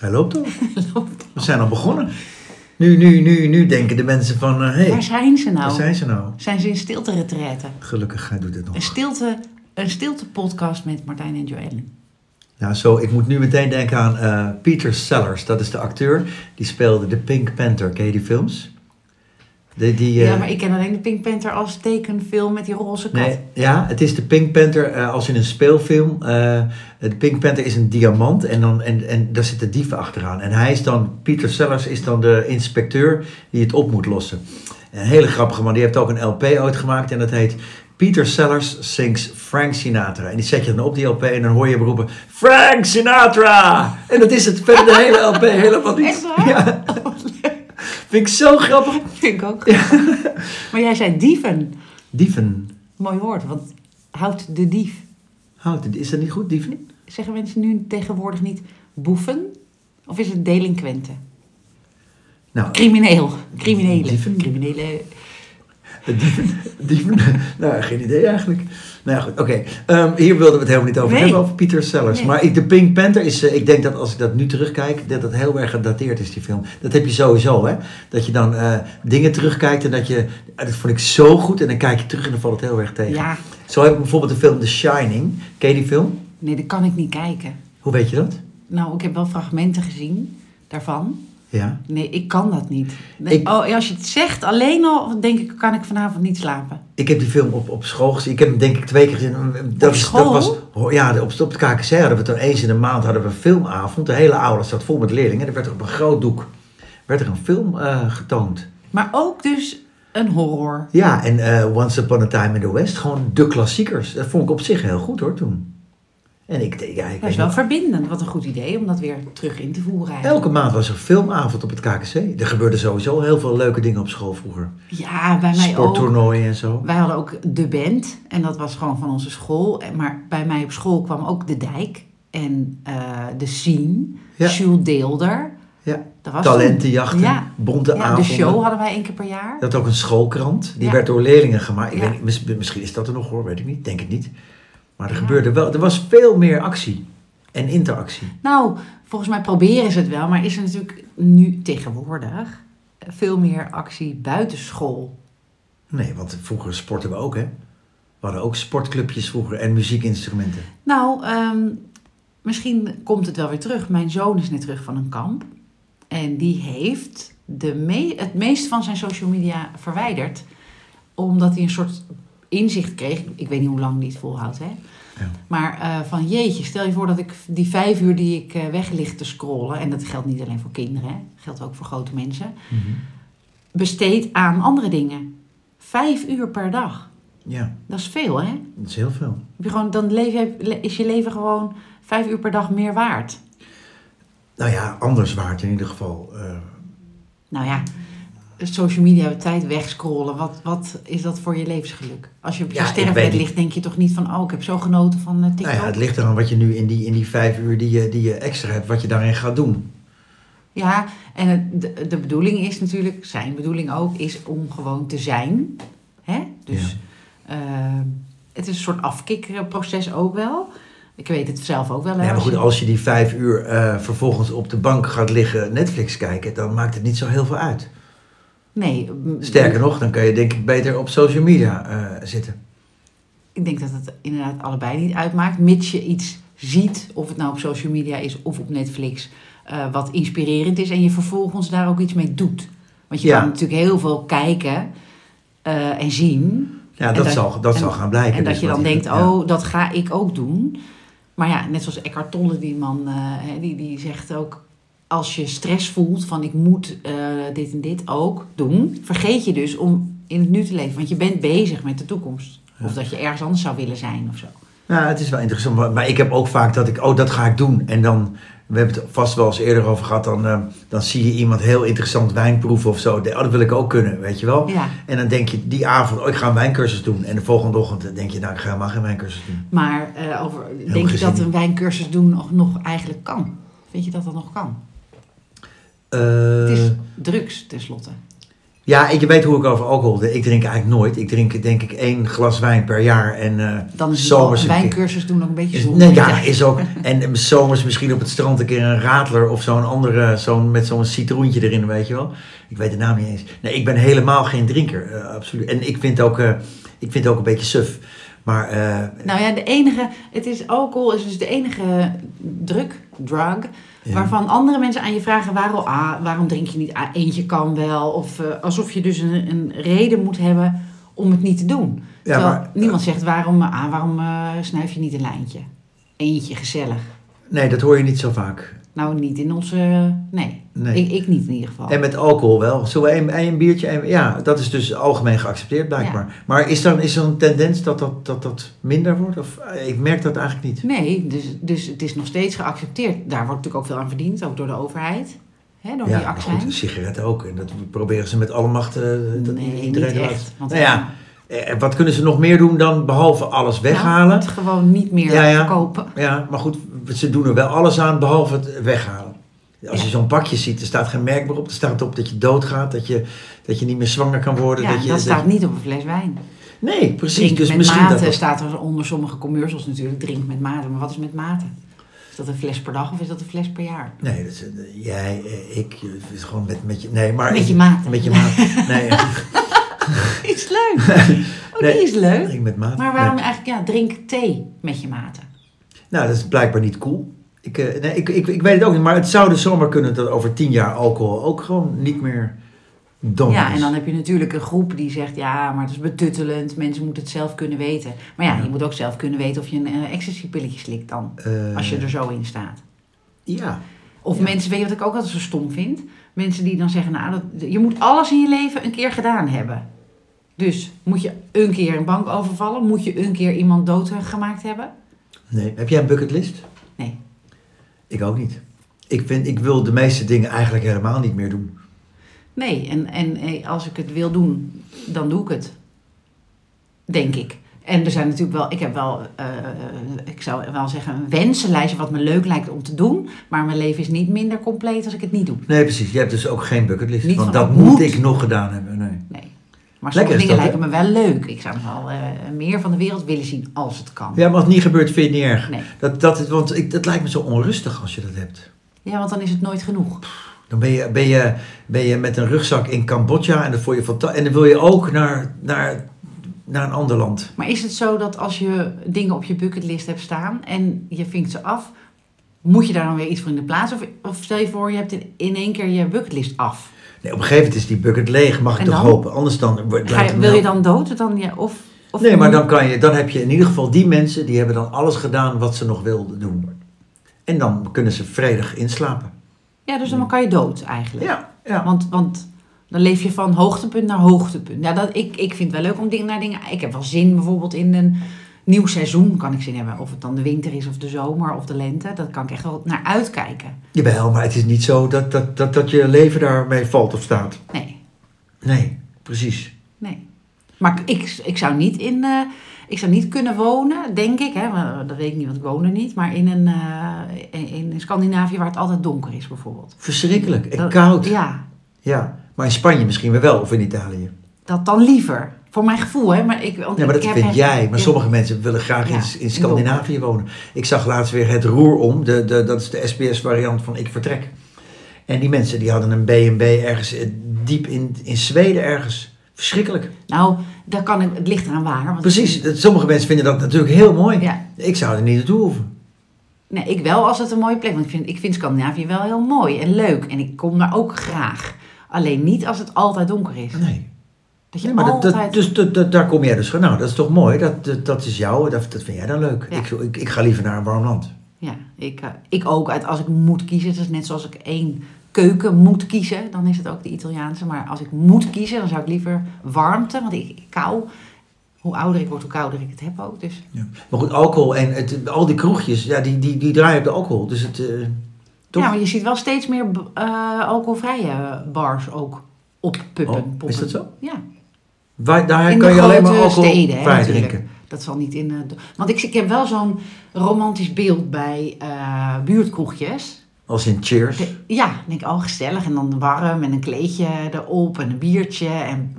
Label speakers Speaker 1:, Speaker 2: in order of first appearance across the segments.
Speaker 1: Hij loopt al.
Speaker 2: loopt.
Speaker 1: We zijn al begonnen. Nu, nu, nu, nu denken de mensen van, hé, hey,
Speaker 2: Waar zijn ze
Speaker 1: waar
Speaker 2: nou?
Speaker 1: zijn ze nou?
Speaker 2: Zijn ze in stilte retraite?
Speaker 1: Gelukkig, hij doet het
Speaker 2: Een
Speaker 1: nog.
Speaker 2: stilte, een stilte podcast met Martijn en Joëlle.
Speaker 1: Nou, zo, ik moet nu meteen denken aan eh, Peter Sellers. Dat is de acteur. Die speelde de Pink Panther. Ken je die films? De, die, eh,
Speaker 2: Ja, maar ik ken alleen de Pink Panther als tekenfilm met die roze kat.
Speaker 1: Nee, ja, het is de Pink Panther eh, als in een speelfilm. eh, de Pink Panther is een diamant en, dan, en, en daar zitten dieven achteraan. En hij is dan, Peter Sellers is dan de inspecteur die het op moet lossen. Een hele grappige man, die heeft ook een LP uitgemaakt en dat heet Peter Sellers Sings Frank Sinatra. En die zet je dan op die LP en dan hoor je hem roepen, Frank Sinatra! En dat is het, verder de hele LP helemaal niet.
Speaker 2: Echt waar? Oh,
Speaker 1: Ja, vind ik zo grappig.
Speaker 2: Vind ik ook. Maar jij zei dieven.
Speaker 1: Dieven,
Speaker 2: Mooi woord, want houdt de dief.
Speaker 1: houdt het, is dat niet goed, dieven?
Speaker 2: Zeggen mensen nu tegenwoordig niet boeven? Of is het delinquenten?
Speaker 1: Nou,
Speaker 2: Crimineel. Criminelen.
Speaker 1: Dieven.
Speaker 2: Criminelen.
Speaker 1: Dieven, dieven. Nou, geen idee eigenlijk. Nou ja, goed, oké. Ehm, hier wilden we het helemaal niet over
Speaker 2: Nee.
Speaker 1: hebben, over Peter Sellers.
Speaker 2: Nee.
Speaker 1: Maar ik, de Pink Panther is, eh, ik denk dat als ik dat nu terugkijk, dat dat heel erg gedateerd is, die film. Dat heb je sowieso, hè. Dat je dan eh, dingen terugkijkt en dat je, eh, dat vond ik zo goed. En dan kijk je terug en dan valt het heel erg tegen.
Speaker 2: Ja,
Speaker 1: Zo heb ik bijvoorbeeld de film The Shining. Ken je die film?
Speaker 2: nee, dat kan ik niet kijken.
Speaker 1: Hoe weet je dat?
Speaker 2: Nou, ik heb wel fragmenten gezien daarvan.
Speaker 1: Ja.
Speaker 2: Nee, ik kan dat niet. Nee,
Speaker 1: Ik-
Speaker 2: Oh, als je het zegt alleen al, denk ik, kan ik vanavond niet slapen.
Speaker 1: Ik heb die film op, op school gezien. Ik heb hem denk ik twee keer gezien. Dat,
Speaker 2: Op
Speaker 1: is- Dat
Speaker 2: school?
Speaker 1: was, ho- ja, op, op het KKC hadden we toen eens in de maand hadden we een filmavond. De hele aula zat vol met leerlingen. Er werd er op een groot doek werd er een film eh, getoond.
Speaker 2: Maar ook dus een horror.
Speaker 1: Ja, en eh, Once Upon a Time in the West. Gewoon de klassiekers. Dat vond ik op zich heel goed hoor toen. En ik denk, ja, ik
Speaker 2: Dat is
Speaker 1: weet
Speaker 2: wel
Speaker 1: niet.
Speaker 2: verbindend. Wat een goed idee om dat weer terug in te voeren eigenlijk.
Speaker 1: Elke maand was er een filmavond op het KKC. Er gebeurden sowieso heel veel leuke dingen op school vroeger.
Speaker 2: Ja, bij mij ook.
Speaker 1: Sporttoernooien en zo.
Speaker 2: Wij hadden ook de band en dat was gewoon van onze school. En- Maar bij mij op school kwam ook de dijk en eh, de scene.
Speaker 1: Ja.
Speaker 2: Jules Deelder.
Speaker 1: Ja.
Speaker 2: Dat was
Speaker 1: Talentenjachten,
Speaker 2: toen. Ja.
Speaker 1: bonte
Speaker 2: Ja, de
Speaker 1: avonden.
Speaker 2: show hadden wij één keer per jaar.
Speaker 1: Dat ook een schoolkrant. Die
Speaker 2: Ja.
Speaker 1: werd door leerlingen gemaakt. Ik
Speaker 2: Ja.
Speaker 1: weet niet, mis- misschien is dat er nog hoor, weet ik niet. Denk het niet. Maar er gebeurde wel. Er was veel meer actie en interactie.
Speaker 2: Nou, volgens mij proberen ze het wel, maar is er natuurlijk nu tegenwoordig veel meer actie buitenschool.
Speaker 1: Nee, want vroeger sporten we ook, hè? We hadden ook sportclubjes vroeger en muziekinstrumenten.
Speaker 2: Nou, ehm, misschien komt het wel weer terug. Mijn zoon is net terug van een kamp en die heeft de me- het meest van zijn social media verwijderd, omdat hij een soort inzicht kreeg. Ik weet niet hoe lang die het volhoudt, hè?
Speaker 1: Ja.
Speaker 2: Maar eh, van jeetje, stel je voor dat ik die vijf uur die ik eh, weg lig te scrollen, en dat geldt niet alleen voor kinderen, hè? geldt ook voor grote mensen. besteed aan andere dingen. Vijf uur per dag.
Speaker 1: Ja,
Speaker 2: Dat is veel, hè? Heb
Speaker 1: dat is heel veel.
Speaker 2: je gewoon, dan leef je, le- is je leven gewoon vijf uur per dag meer waard.
Speaker 1: Nou ja, anders waard in ieder geval. eh,
Speaker 2: Nou ja, social media tijd wegscrollen. Wat, wat is dat voor je levensgeluk? Als je op je
Speaker 1: Ja, ik
Speaker 2: sterrenbed
Speaker 1: weet niet.
Speaker 2: ligt, denk je toch niet van... oh, ik heb zo genoten van eh, TikTok?
Speaker 1: nou ja, het ligt eraan wat je nu in die, in die vijf uur die je, die je extra hebt, wat je daarin gaat doen.
Speaker 2: Ja, en het- de, de bedoeling is natuurlijk, zijn bedoeling ook, is om gewoon te zijn. Hè? Dus eh, het is een soort afkikproces ook wel. Ik weet het zelf ook wel. hè,
Speaker 1: Ja, maar
Speaker 2: als
Speaker 1: goed,
Speaker 2: je-
Speaker 1: als je die vijf uur eh, vervolgens op de bank gaat liggen Netflix kijken, dan maakt het niet zo heel veel uit.
Speaker 2: Nee, m-
Speaker 1: Sterker nog, dan kan je denk ik beter op social media eh, zitten.
Speaker 2: Ik denk dat het inderdaad allebei niet uitmaakt. Mits je iets ziet, of het nou op social media is of op Netflix, eh, wat inspirerend is en je vervolgens daar ook iets mee doet. Want je
Speaker 1: Ja.
Speaker 2: kan natuurlijk heel veel kijken eh, en zien.
Speaker 1: Ja,
Speaker 2: En
Speaker 1: dat,
Speaker 2: dat-
Speaker 1: zal, dat
Speaker 2: en-
Speaker 1: zal gaan blijken.
Speaker 2: en dat
Speaker 1: dus
Speaker 2: je
Speaker 1: wat
Speaker 2: dan
Speaker 1: hij
Speaker 2: denkt,
Speaker 1: doet, ja.
Speaker 2: oh, dat ga ik ook doen. Maar ja, net zoals Eckhart Tolle, die man, eh, hè, die, die zegt ook... als je stress voelt van ik moet eh, dit en dit ook doen... vergeet je dus om in het nu te leven. Want je bent bezig met de toekomst. Of dat je ergens anders zou willen zijn of zo.
Speaker 1: Ja, het is wel interessant. Maar, maar ik heb ook vaak dat ik, oh, dat ga ik doen. En dan, we hebben het vast wel eens eerder over gehad, dan, eh, dan zie je iemand heel interessant wijn proeven of zo. De- Oh, dat wil ik ook kunnen, weet je wel.
Speaker 2: Ja.
Speaker 1: En dan denk je die avond, oh, ik ga een wijncursus doen. En de volgende ochtend denk je, nou, ik ga helemaal geen wijncursus doen.
Speaker 2: Maar eh, over, denk je
Speaker 1: gezin.
Speaker 2: dat een wijncursus doen nog, nog eigenlijk kan? Vind je dat dat nog kan?
Speaker 1: Eh,
Speaker 2: het is drugs, tenslotte.
Speaker 1: Ja, ik, je weet hoe ik over alcohol drink. Ik drink eigenlijk nooit. Ik drink denk ik één glas wijn per jaar. En eh,
Speaker 2: Dan is het wel-
Speaker 1: zomers
Speaker 2: een
Speaker 1: een keer-
Speaker 2: wijncursus doen ook een beetje
Speaker 1: Is-
Speaker 2: zonde.
Speaker 1: nee, ja, is ook. En eh, zomers misschien op het strand een keer een radler of zo'n andere, zo'n met zo'n citroentje erin, weet je wel. Ik weet de naam niet eens. Nee, ik ben helemaal geen drinker, eh, absoluut. En ik vind ook, eh, ik vind ook een beetje suf. Maar eh,
Speaker 2: Nou ja, de enige, het is alcohol is dus de enige druk, drug,
Speaker 1: Ja.
Speaker 2: waarvan andere mensen aan je vragen waarom, ah, waarom drink je niet, ah, eentje kan wel. Of eh, alsof je dus een, een reden moet hebben om het niet te doen. Terwijl
Speaker 1: maar,
Speaker 2: niemand zegt waarom, eh, ah, waarom eh, snuif je niet een lijntje. Eentje, gezellig.
Speaker 1: nee, dat hoor je niet zo vaak.
Speaker 2: Nou, niet in onze, nee,
Speaker 1: Nee.
Speaker 2: Ik, ik niet in ieder geval.
Speaker 1: En met alcohol wel. Zullen we een, een biertje? Een, ja, dat is dus algemeen geaccepteerd blijkbaar. Maar is er, is er een tendens dat dat, dat dat minder wordt? Of, eh, ik merk dat eigenlijk niet.
Speaker 2: Nee, dus, dus het is nog steeds geaccepteerd. Daar wordt natuurlijk ook veel aan verdiend, ook door de overheid. Hè, door
Speaker 1: ja,
Speaker 2: die
Speaker 1: maar
Speaker 2: accijns.
Speaker 1: goed, dus een sigaret ook. En dat proberen ze met alle macht. eh, dat
Speaker 2: nee,
Speaker 1: iedereen
Speaker 2: niet
Speaker 1: eruit-
Speaker 2: echt. Want
Speaker 1: Nou ja, eh, wat kunnen ze nog meer doen dan behalve alles
Speaker 2: Nou,
Speaker 1: weghalen?
Speaker 2: het gewoon niet meer
Speaker 1: Ja, ja.
Speaker 2: verkopen.
Speaker 1: Ja, maar goed, ze doen er wel alles aan behalve het weghalen. Als je
Speaker 2: Ja.
Speaker 1: zo'n pakje ziet, er staat geen merk meer op. Er staat op dat je doodgaat, dat je, dat je niet meer zwanger kan worden.
Speaker 2: Ja,
Speaker 1: dat je,
Speaker 2: dat
Speaker 1: dat
Speaker 2: staat niet op een fles wijn.
Speaker 1: je- Nee, precies.
Speaker 2: Drink
Speaker 1: dus
Speaker 2: met
Speaker 1: misschien
Speaker 2: mate
Speaker 1: dat dat-
Speaker 2: staat er onder sommige commercials natuurlijk. Drink met mate. Maar wat is met mate? Is dat een fles per dag of is dat een fles per jaar?
Speaker 1: Nee, dat is, eh, jij, eh, ik, eh, het is gewoon met, met je... Nee, maar...
Speaker 2: Met je maat.
Speaker 1: Met je maat. Nee, eh,
Speaker 2: Is leuk. Oh,
Speaker 1: Nee.
Speaker 2: die is leuk.
Speaker 1: drink met maat.
Speaker 2: Maar waarom
Speaker 1: Nee.
Speaker 2: eigenlijk, ja, drink thee met je mate.
Speaker 1: Nou, dat is blijkbaar niet cool. Ik, eh, nee, ik, ik, ik weet het ook niet, maar het zou dus zomaar kunnen dat over tien jaar alcohol ook gewoon niet meer dom
Speaker 2: Ja,
Speaker 1: is.
Speaker 2: en dan heb je natuurlijk een groep die zegt, ja, maar het is betuttelend. Mensen moeten het zelf kunnen weten. Maar ja, je moet ook zelf kunnen weten of je een eh, ecstasy-pilletje slikt dan.
Speaker 1: Eh,
Speaker 2: Als je er zo in staat.
Speaker 1: Ja.
Speaker 2: Of
Speaker 1: Ja.
Speaker 2: mensen, weet je wat ik ook altijd zo stom vind? Mensen die dan zeggen, nou, dat, je moet alles in je leven een keer gedaan hebben. Dus moet je een keer een bank overvallen? Moet je een keer iemand doodgemaakt hebben?
Speaker 1: Nee. Heb jij een bucketlist?
Speaker 2: Nee.
Speaker 1: Ik ook niet. Ik, vind, ik wil de meeste dingen eigenlijk helemaal niet meer doen.
Speaker 2: Nee, en, en eh, als ik het wil doen, dan doe ik het. Denk ik. En er zijn natuurlijk wel, ik heb wel, eh, eh, ik zou wel zeggen, een wensenlijstje wat me leuk lijkt om te doen. Maar mijn leven is niet minder compleet als ik het niet doe.
Speaker 1: Nee, precies. Je hebt dus ook geen bucketlist.
Speaker 2: Niet
Speaker 1: want
Speaker 2: van,
Speaker 1: dat
Speaker 2: ik
Speaker 1: moet
Speaker 2: moet.
Speaker 1: ik nog gedaan hebben. Nee.
Speaker 2: Nee.
Speaker 1: Lekker
Speaker 2: Maar sommige
Speaker 1: is
Speaker 2: dingen
Speaker 1: dat,
Speaker 2: lijken me wel leuk. Ik zou nog wel eh, meer van de wereld willen zien als het kan.
Speaker 1: Ja, maar als het niet gebeurt, vind je het niet erg.
Speaker 2: Nee.
Speaker 1: Dat, dat, want ik, dat lijkt me zo onrustig als je dat hebt.
Speaker 2: Ja, want dan is het nooit genoeg.
Speaker 1: Dan ben je, ben, je, ben je met een rugzak in Cambodja en, dat vond je fanta- en dan wil je ook naar, naar, naar een ander land.
Speaker 2: Maar is het zo dat als je dingen op je bucketlist hebt staan en je vinkt ze af, moet je daar dan weer iets voor in de plaats? Of, of stel je voor, je hebt in, in één keer je bucketlist af.
Speaker 1: Nee, op een gegeven moment is die bucket leeg, mag ik
Speaker 2: En
Speaker 1: toch
Speaker 2: dan?
Speaker 1: hopen. Anders dan wordt-
Speaker 2: Ga
Speaker 1: lijkt
Speaker 2: je,
Speaker 1: het
Speaker 2: wil
Speaker 1: me-
Speaker 2: je dan dood? Dan, ja, of, of
Speaker 1: Nee, maar dan, kan je, dan heb je in ieder geval die mensen, die hebben dan alles gedaan wat ze nog wilden doen. En dan kunnen ze vredig inslapen.
Speaker 2: Ja, dus dan kan je dood eigenlijk.
Speaker 1: Ja, ja.
Speaker 2: Want, want dan leef je van hoogtepunt naar hoogtepunt. Ja, dat, ik, ik vind het wel leuk om dingen naar dingen... Ik heb wel zin bijvoorbeeld in een nieuw seizoen kan ik zin hebben. Of het dan de winter is of de zomer of de lente. Dat kan ik echt wel naar uitkijken.
Speaker 1: Jawel, maar het is niet zo dat, dat, dat, dat je leven daarmee valt of staat.
Speaker 2: Nee,
Speaker 1: Nee, precies.
Speaker 2: nee. Maar ik, ik, zou niet in, eh, ik zou niet kunnen wonen, denk ik. Hè, maar dat weet ik niet, want ik woon er niet. Maar in, een, eh, in, in Scandinavië waar het altijd donker is bijvoorbeeld.
Speaker 1: Verschrikkelijk en
Speaker 2: Dat-
Speaker 1: koud.
Speaker 2: Ja,
Speaker 1: Ja, maar in Spanje misschien weer wel, of in Italië.
Speaker 2: dat dan liever. Voor mijn gevoel, hè. Maar ik, want
Speaker 1: Nee, maar
Speaker 2: ik
Speaker 1: dat
Speaker 2: heb
Speaker 1: vind
Speaker 2: echt-
Speaker 1: jij. Maar
Speaker 2: ja.
Speaker 1: sommige mensen willen graag
Speaker 2: Ja,
Speaker 1: in, in
Speaker 2: in
Speaker 1: Scandinavië wonen. Ik zag laatst weer het roer om. De, de, dat is de SBS-variant van ik vertrek. En die mensen die hadden een B&B ergens eh, diep in, in Zweden ergens. Verschrikkelijk.
Speaker 2: Nou, daar kan ik, het ligt eraan waar. Want
Speaker 1: Precies. dat- Sommige mensen vinden dat natuurlijk heel mooi.
Speaker 2: Ja.
Speaker 1: Ik zou er niet naartoe hoeven.
Speaker 2: Nee, ik wel als het een mooie plek is. Want ik vind, ik vind Scandinavië wel heel mooi en leuk. En ik kom daar ook graag. Alleen niet als het altijd donker is.
Speaker 1: Nee.
Speaker 2: Dat je
Speaker 1: Ja, maar dat,
Speaker 2: altijd...
Speaker 1: dat, dus dat, dat- daar kom jij dus van. Nou, dat is toch mooi. Dat, dat, dat is jou. Dat, dat vind jij dan leuk.
Speaker 2: Ja.
Speaker 1: Ik, ik, ik ga liever naar een warm land.
Speaker 2: Ja, ik, eh, ik ook. Uit, als ik moet kiezen, dat is net zoals ik één keuken moet kiezen. Dan is het ook de Italiaanse. Maar als ik moet kiezen, dan zou ik liever warmte. Want ik, ik kou. Hoe ouder ik word, hoe kouder ik het heb ook. Dus
Speaker 1: Ja. Maar goed, alcohol en het, al die kroegjes, ja, die, die, die draaien op de alcohol. Dus het... eh, Toch?
Speaker 2: Ja, maar je ziet wel steeds meer b- eh, alcoholvrije bars ook oppuppen.
Speaker 1: Oh, is
Speaker 2: poppen.
Speaker 1: dat zo?
Speaker 2: Ja.
Speaker 1: Waar, daar
Speaker 2: In
Speaker 1: kan
Speaker 2: de
Speaker 1: je alleen maar
Speaker 2: grote
Speaker 1: alcohol
Speaker 2: steden, hè,
Speaker 1: vrij
Speaker 2: natuurlijk.
Speaker 1: drinken.
Speaker 2: Dat zal niet in... eh, de- want ik, ik heb wel zo'n romantisch beeld bij eh buurtkroegjes.
Speaker 1: Als in Cheers.
Speaker 2: De- ja, denk ik, oh gezellig. En dan warm en een kleedje erop en een biertje en,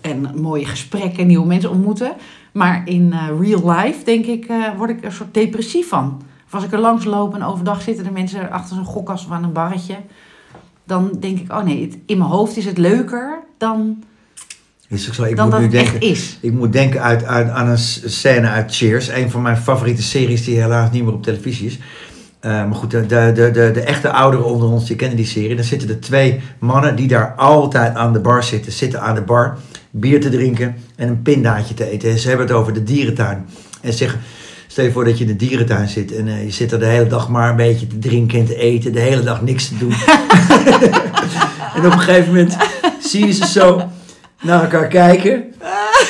Speaker 2: en mooie gesprekken, nieuwe mensen ontmoeten. Maar in eh, real life, denk ik, eh, word ik er soort depressief van. Of als ik er langs loop en overdag zitten de mensen achter zo'n gokkast of aan een barretje. Dan denk ik, oh nee, het- in mijn hoofd is het leuker dan,
Speaker 1: Is ook zo. Ik
Speaker 2: dan
Speaker 1: moet
Speaker 2: dat
Speaker 1: nu
Speaker 2: het
Speaker 1: denken.
Speaker 2: echt is.
Speaker 1: Ik moet denken uit, uit, aan een s- scène uit Cheers. Een van mijn favoriete series die helaas niet meer op televisie is. Eh, maar goed, de, de, de, de, de echte ouderen onder ons die kennen die serie. Dan zitten er twee mannen die daar altijd aan de bar zitten. Zitten aan de bar, bier te drinken en een pindaatje te eten. En ze hebben het over de dierentuin. En zeggen, stel je voor dat je in de dierentuin zit. En eh, je zit er de hele dag maar een beetje te drinken en te eten. De hele dag niks te doen. en op een gegeven moment zie je ze zo naar elkaar kijken.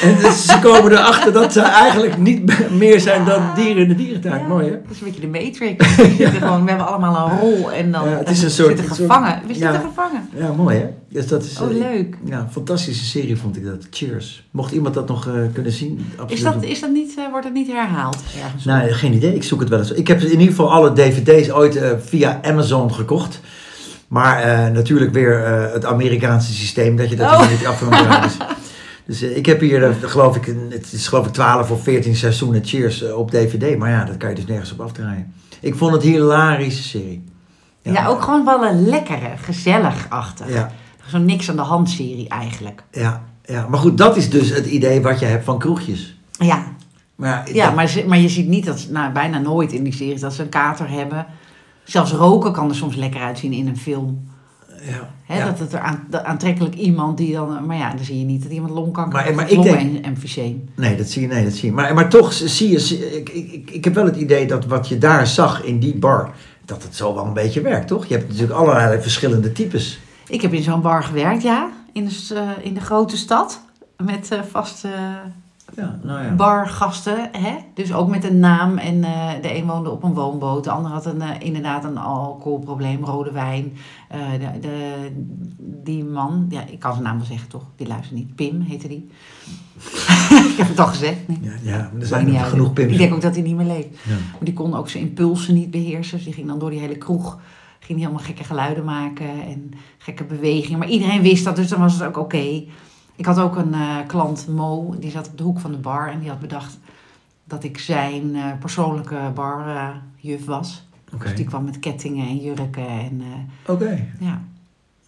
Speaker 1: En dus ze komen erachter dat ze eigenlijk niet be- meer zijn dan dieren in de dierentuin.
Speaker 2: Ja,
Speaker 1: Mooi hè?
Speaker 2: Dat is een beetje de matrix. We, zitten gewoon, we hebben allemaal een rol en dan
Speaker 1: Ja, het is een
Speaker 2: we
Speaker 1: soort-
Speaker 2: zitten
Speaker 1: een soort-
Speaker 2: gevangen. We zitten
Speaker 1: ja.
Speaker 2: gevangen.
Speaker 1: Ja, mooi hè? Dus dat is,
Speaker 2: Oh,
Speaker 1: eh,
Speaker 2: leuk.
Speaker 1: Ja, een fantastische serie vond ik dat. Cheers. Mocht iemand dat nog eh, kunnen zien? Absoluut.
Speaker 2: Is dat, is dat niet, eh, wordt het niet herhaald ergens?
Speaker 1: Nou, geen idee. Ik zoek het wel eens. Ik heb in ieder geval alle dvd's ooit eh, via Amazon gekocht. Maar eh, natuurlijk weer eh, het Amerikaanse systeem dat je dat
Speaker 2: Oh.
Speaker 1: niet af kan draaien. Dus- Dus eh, ik heb hier, eh, geloof ik, een- het is geloof ik 12 of 14 seizoenen Cheers eh, op dvd. Maar ja, dat kan je dus nergens op afdraaien. Ik vond het een hilarische serie.
Speaker 2: Ja, ook gewoon wel een lekkere, gezellig achter.
Speaker 1: Ja,
Speaker 2: Zo'n niks aan de hand serie eigenlijk.
Speaker 1: ja, ja. Maar goed, dat is dus het idee wat je hebt van kroegjes.
Speaker 2: Ja,
Speaker 1: Maar,
Speaker 2: ja
Speaker 1: dat-
Speaker 2: maar, ze- maar je ziet niet dat, ze- nou bijna nooit in die series, dat ze een kater hebben. Zelfs roken kan er soms lekker uitzien in een film.
Speaker 1: ja,
Speaker 2: hè
Speaker 1: ja.
Speaker 2: Dat het er aan- dat aantrekkelijk iemand die dan... Maar ja, dan zie je niet dat iemand longkanker
Speaker 1: Maar-
Speaker 2: heeft
Speaker 1: maar
Speaker 2: of
Speaker 1: ik denk-
Speaker 2: longemfyseem.
Speaker 1: Nee, dat zie je. Nee, dat zie je. Maar, maar toch zie je. zie- Ik, ik, ik- ik heb wel het idee dat wat je daar zag in die bar. dat het zo wel een beetje werkt, toch? Je hebt natuurlijk allerlei verschillende types.
Speaker 2: Ik heb in zo'n bar gewerkt, ja. In de, s- eh, in de grote stad. Met eh, vaste
Speaker 1: Ja, nou
Speaker 2: bargasten. Hè? Dus ook met een naam. En eh, de een woonde op een woonboot. De ander had een, eh, inderdaad een alcoholprobleem, rode wijn. Eh, de, de- die man, ja, ik kan zijn naam wel zeggen toch? Die luistert niet. Pim heette die. ik heb het al gezegd. Nee.
Speaker 1: Ja, ja er
Speaker 2: Maakt
Speaker 1: zijn
Speaker 2: niet
Speaker 1: er
Speaker 2: uit.
Speaker 1: genoeg pims.
Speaker 2: Ik denk ook dat hij niet meer leeft.
Speaker 1: Ja.
Speaker 2: Maar die kon ook zijn impulsen niet beheersen. Dus die ging dan door die hele kroeg. Ging die helemaal gekke geluiden maken en gekke bewegingen. Maar iedereen wist dat, dus dan was het ook oké. Ik had ook een eh, klant, Mo, die zat op de hoek van de bar. En die had bedacht dat ik zijn eh, persoonlijke barjuf was.
Speaker 1: Oké.
Speaker 2: Dus die kwam met kettingen en jurken. En, eh,
Speaker 1: Oké,
Speaker 2: ja.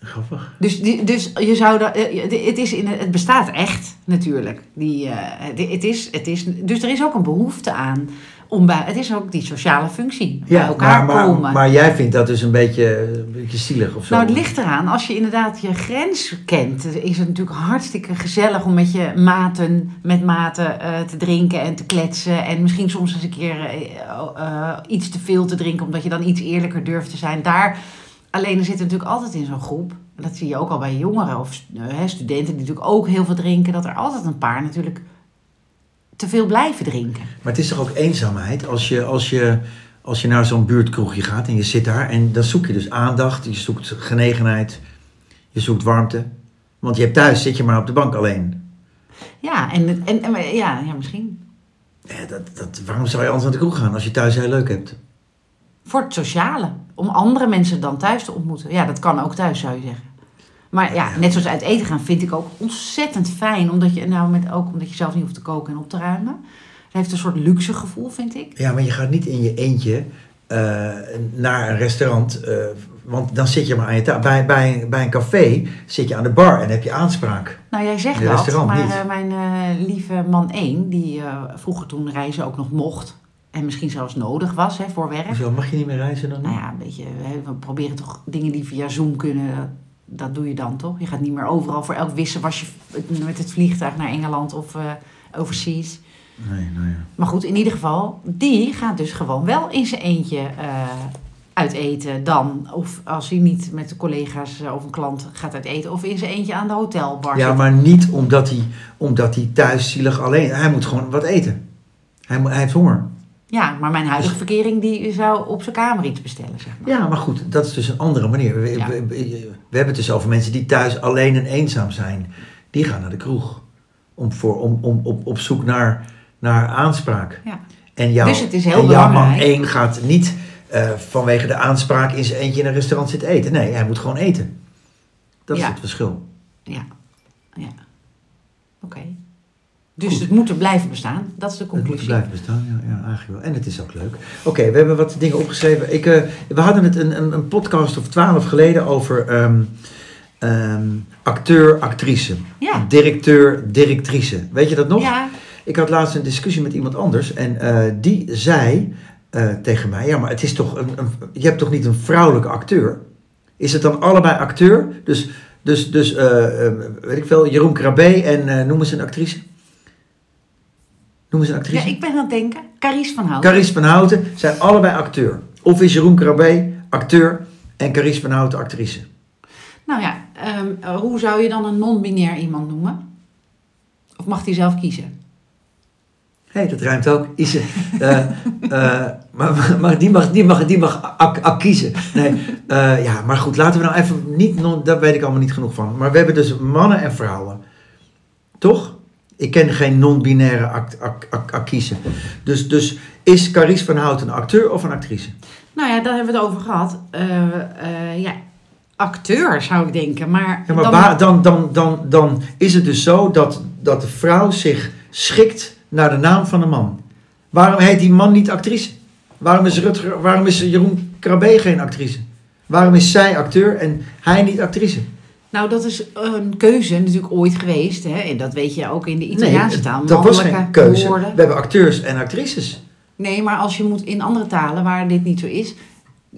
Speaker 1: grappig.
Speaker 2: Dus, die- dus je zou dat, eh, eh, het, is in, het bestaat echt natuurlijk. Die, eh, die- het is, het is, dus er is ook een behoefte aan. Om bij, het is ook die sociale functie. bij elkaar
Speaker 1: maar, maar,
Speaker 2: komen.
Speaker 1: maar jij vindt dat dus een beetje, een beetje zielig of zo?
Speaker 2: nou, het ligt eraan. Als je inderdaad je grens kent, is het natuurlijk hartstikke gezellig om met je maten, met maten eh, te drinken en te kletsen. En misschien soms eens een keer eh, eh, iets te veel te drinken, omdat je dan iets eerlijker durft te zijn. Daar Alleen er zit natuurlijk altijd in zo'n groep, en dat zie je ook al bij jongeren of eh, hè, studenten die natuurlijk ook heel veel drinken, dat er altijd een paar natuurlijk te veel blijven drinken.
Speaker 1: Maar het is toch ook eenzaamheid als je, als je, als je naar zo'n buurtkroegje gaat en je zit daar en dan zoek je dus aandacht, je zoekt genegenheid, je zoekt warmte. Want je hebt thuis zit je maar op de bank alleen.
Speaker 2: Ja, en, het- en, en maar ja, ja, misschien.
Speaker 1: Ja, dat, dat, waarom zou je anders naar de kroeg gaan als je thuis heel leuk hebt?
Speaker 2: Voor het sociale, om andere mensen dan thuis te ontmoeten. Ja, dat kan ook thuis, zou je zeggen. Maar ja, net zoals uit eten gaan vind ik ook ontzettend fijn, omdat je, nou, met, ook omdat je zelf niet hoeft te koken en op te ruimen. Het heeft een soort luxe gevoel, vind ik.
Speaker 1: Ja, maar je gaat niet in je eentje eh, naar een restaurant, eh, want dan zit je maar aan je tafel. Bij, bij, bij een café zit je aan de bar en heb je aanspraak.
Speaker 2: Nou, jij zegt
Speaker 1: In het
Speaker 2: dat,
Speaker 1: restaurant
Speaker 2: maar
Speaker 1: niet.
Speaker 2: eh, mijn eh, lieve man 1, die eh, vroeger toen reizen ook nog mocht en misschien zelfs nodig was hè, voor werk.
Speaker 1: Hoezo, mag je niet meer reizen dan?
Speaker 2: Nou ja, een beetje, hè, we proberen toch dingen die via Zoom kunnen, dat, dat doe je dan toch? Je gaat niet meer overal voor elk wissen was je v- met het vliegtuig naar Engeland of eh, overseas.
Speaker 1: Nee, nou ja.
Speaker 2: Maar goed, in ieder geval, die gaat dus gewoon wel in zijn eentje eh, uit eten dan. Of als hij niet met de collega's eh, of een klant gaat uit eten, of in zijn eentje aan de hotelbar
Speaker 1: Ja,
Speaker 2: zit.
Speaker 1: maar niet omdat hij, omdat hij thuis zielig alleen... Hij moet gewoon wat eten. Hij, moet- hij heeft honger.
Speaker 2: Ja, maar mijn huidige verkering die zou op zijn kamer iets bestellen, zeg maar.
Speaker 1: Ja, maar goed, dat is dus een andere manier. We,
Speaker 2: Ja.
Speaker 1: we, we- we hebben het dus over mensen die thuis alleen en eenzaam zijn. Die gaan naar de kroeg. Om voor, om, om, op, op zoek naar, naar aanspraak.
Speaker 2: Ja.
Speaker 1: En jouw,
Speaker 2: Dus het is heel
Speaker 1: en jouw man
Speaker 2: belangrijk.
Speaker 1: één gaat niet eh, vanwege de aanspraak in zijn eentje in een restaurant zit eten. Nee, hij moet gewoon eten. Dat is
Speaker 2: Ja.
Speaker 1: het verschil.
Speaker 2: Ja, ja. Oké. Dus het moet er blijven bestaan. Dat is de
Speaker 1: Het moet
Speaker 2: conclusie.
Speaker 1: blijven bestaan, ja, ja, eigenlijk wel. En het is ook leuk. Oké, we hebben wat dingen opgeschreven. Ik, eh, we hadden het een, een, een podcast of twaalf geleden over ehm, ehm, acteur, actrice.
Speaker 2: Ja.
Speaker 1: Directeur, directrice. Weet je dat nog?
Speaker 2: Ja,
Speaker 1: Ik had laatst een discussie met iemand anders en eh, die zei eh, tegen mij: Ja, maar het is toch een, een- je hebt toch niet een vrouwelijke acteur? Is het dan allebei acteur? Dus, dus, dus eh, eh, weet ik veel, Jeroen Krabbe en eh, noem eens een actrice. Noem eens een
Speaker 2: ja,
Speaker 1: actrice.
Speaker 2: ik ben aan het denken. Carice van Hout.
Speaker 1: Carice van Houten zijn allebei acteur. Of is Jeroen Krabbe acteur en Carice van Houten actrice?
Speaker 2: Nou ja, ehm, eh, hoe zou je dan een non-binair iemand noemen? Of mag die zelf kiezen?
Speaker 1: Hé, dat ruimt ook. Is, eh, eh, maar, maar- maar die mag, die mag, die mag ak, ak kiezen. Nee, eh, ja, maar goed, laten we nou even niet... non- Daar weet ik allemaal niet genoeg van. Maar we hebben dus mannen en vrouwen. Toch? Ik ken geen non-binaire act, ak, ak, ak kiezen. Dus, dus is Carice van Hout een acteur of een actrice?
Speaker 2: Nou ja, daar hebben we het over gehad. Eh, eh, ja, acteur zou ik denken. Maar,
Speaker 1: Ja, maar
Speaker 2: dan-
Speaker 1: waar- dan, dan, dan, dan is het dus zo dat, dat de vrouw zich schikt naar de naam van de man. Waarom heet die man niet actrice? Waarom is, Rutger, waarom is Jeroen Krabbe geen actrice? Waarom is zij acteur en hij niet actrice?
Speaker 2: Nou, dat is een keuze natuurlijk ooit geweest. Hè? En dat weet je ook in de Italiaanse taal.
Speaker 1: dat was geen
Speaker 2: Mannelijke
Speaker 1: keuze.
Speaker 2: woorden.
Speaker 1: We hebben acteurs en actrices.
Speaker 2: Nee, maar als je moet in andere talen waar dit niet zo is,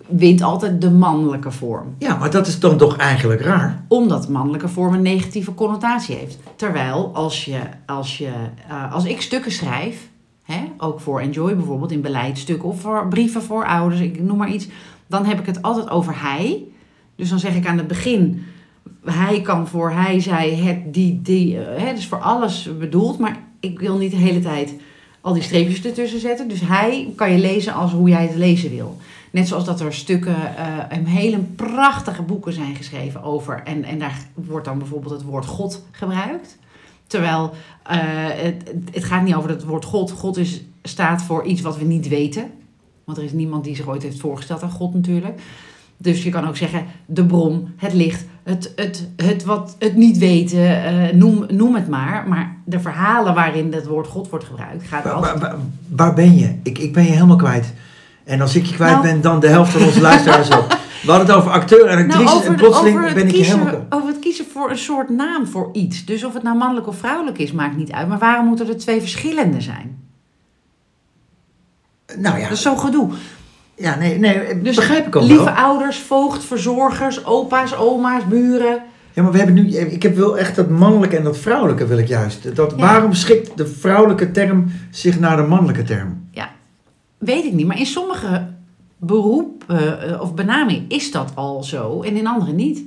Speaker 2: wint altijd de mannelijke vorm.
Speaker 1: Ja, maar dat is dan toch eigenlijk raar?
Speaker 2: Omdat mannelijke vorm een negatieve connotatie heeft. Terwijl als, je, als, je, eh, als ik stukken schrijf, hè, ook voor Enjoy bijvoorbeeld, in beleidsstukken of voor brieven voor ouders, ik noem maar iets, dan heb ik het altijd over hij. Dus dan zeg ik aan het begin, hij kan voor hij, zij, het, die, die. eh, Hè, dus voor alles bedoeld, maar ik wil niet de hele tijd al die streepjes ertussen zetten. Dus hij kan je lezen als hoe jij het lezen wil. Net zoals dat er stukken, eh, en hele prachtige boeken zijn geschreven over. En, en daar wordt dan bijvoorbeeld het woord God gebruikt. Terwijl eh, het, het gaat niet over het woord God. God is, staat voor iets wat we niet weten. Want er is niemand die zich ooit heeft voorgesteld aan God natuurlijk. Dus je kan ook zeggen de bron, het licht, het, het, het, wat, het niet weten, eh, noem, noem het maar. Maar de verhalen waarin het woord God wordt gebruikt gaat
Speaker 1: Waar,
Speaker 2: altijd...
Speaker 1: waar- waar- waar ben je? Ik, ik ben je helemaal kwijt. En als ik je kwijt
Speaker 2: Nou.
Speaker 1: ben, dan de helft van onze luisteraars ook. We hadden het over acteur en actrices en plotseling
Speaker 2: Nou, over het
Speaker 1: ben ik je
Speaker 2: kiezen,
Speaker 1: helemaal kwijt.
Speaker 2: Over het kiezen voor een soort naam voor iets. Dus of het nou mannelijk of vrouwelijk is, maakt niet uit. Maar waarom moeten er twee verschillende zijn?
Speaker 1: Nou ja,
Speaker 2: Dat is zo'n gedoe.
Speaker 1: Ja, nee, nee
Speaker 2: Dus
Speaker 1: begrijp ik ook
Speaker 2: Lieve
Speaker 1: wel.
Speaker 2: ouders, voogd, verzorgers, opa's, oma's, buren.
Speaker 1: Ja, maar we hebben nu, eh, ik heb wel echt dat mannelijke en dat vrouwelijke wil ik juist. Dat,
Speaker 2: Ja.
Speaker 1: Waarom schikt de vrouwelijke term zich naar de mannelijke term?
Speaker 2: Ja, weet ik niet. Maar in sommige beroepen eh, of benamingen is dat al zo en in andere niet.
Speaker 1: Oh,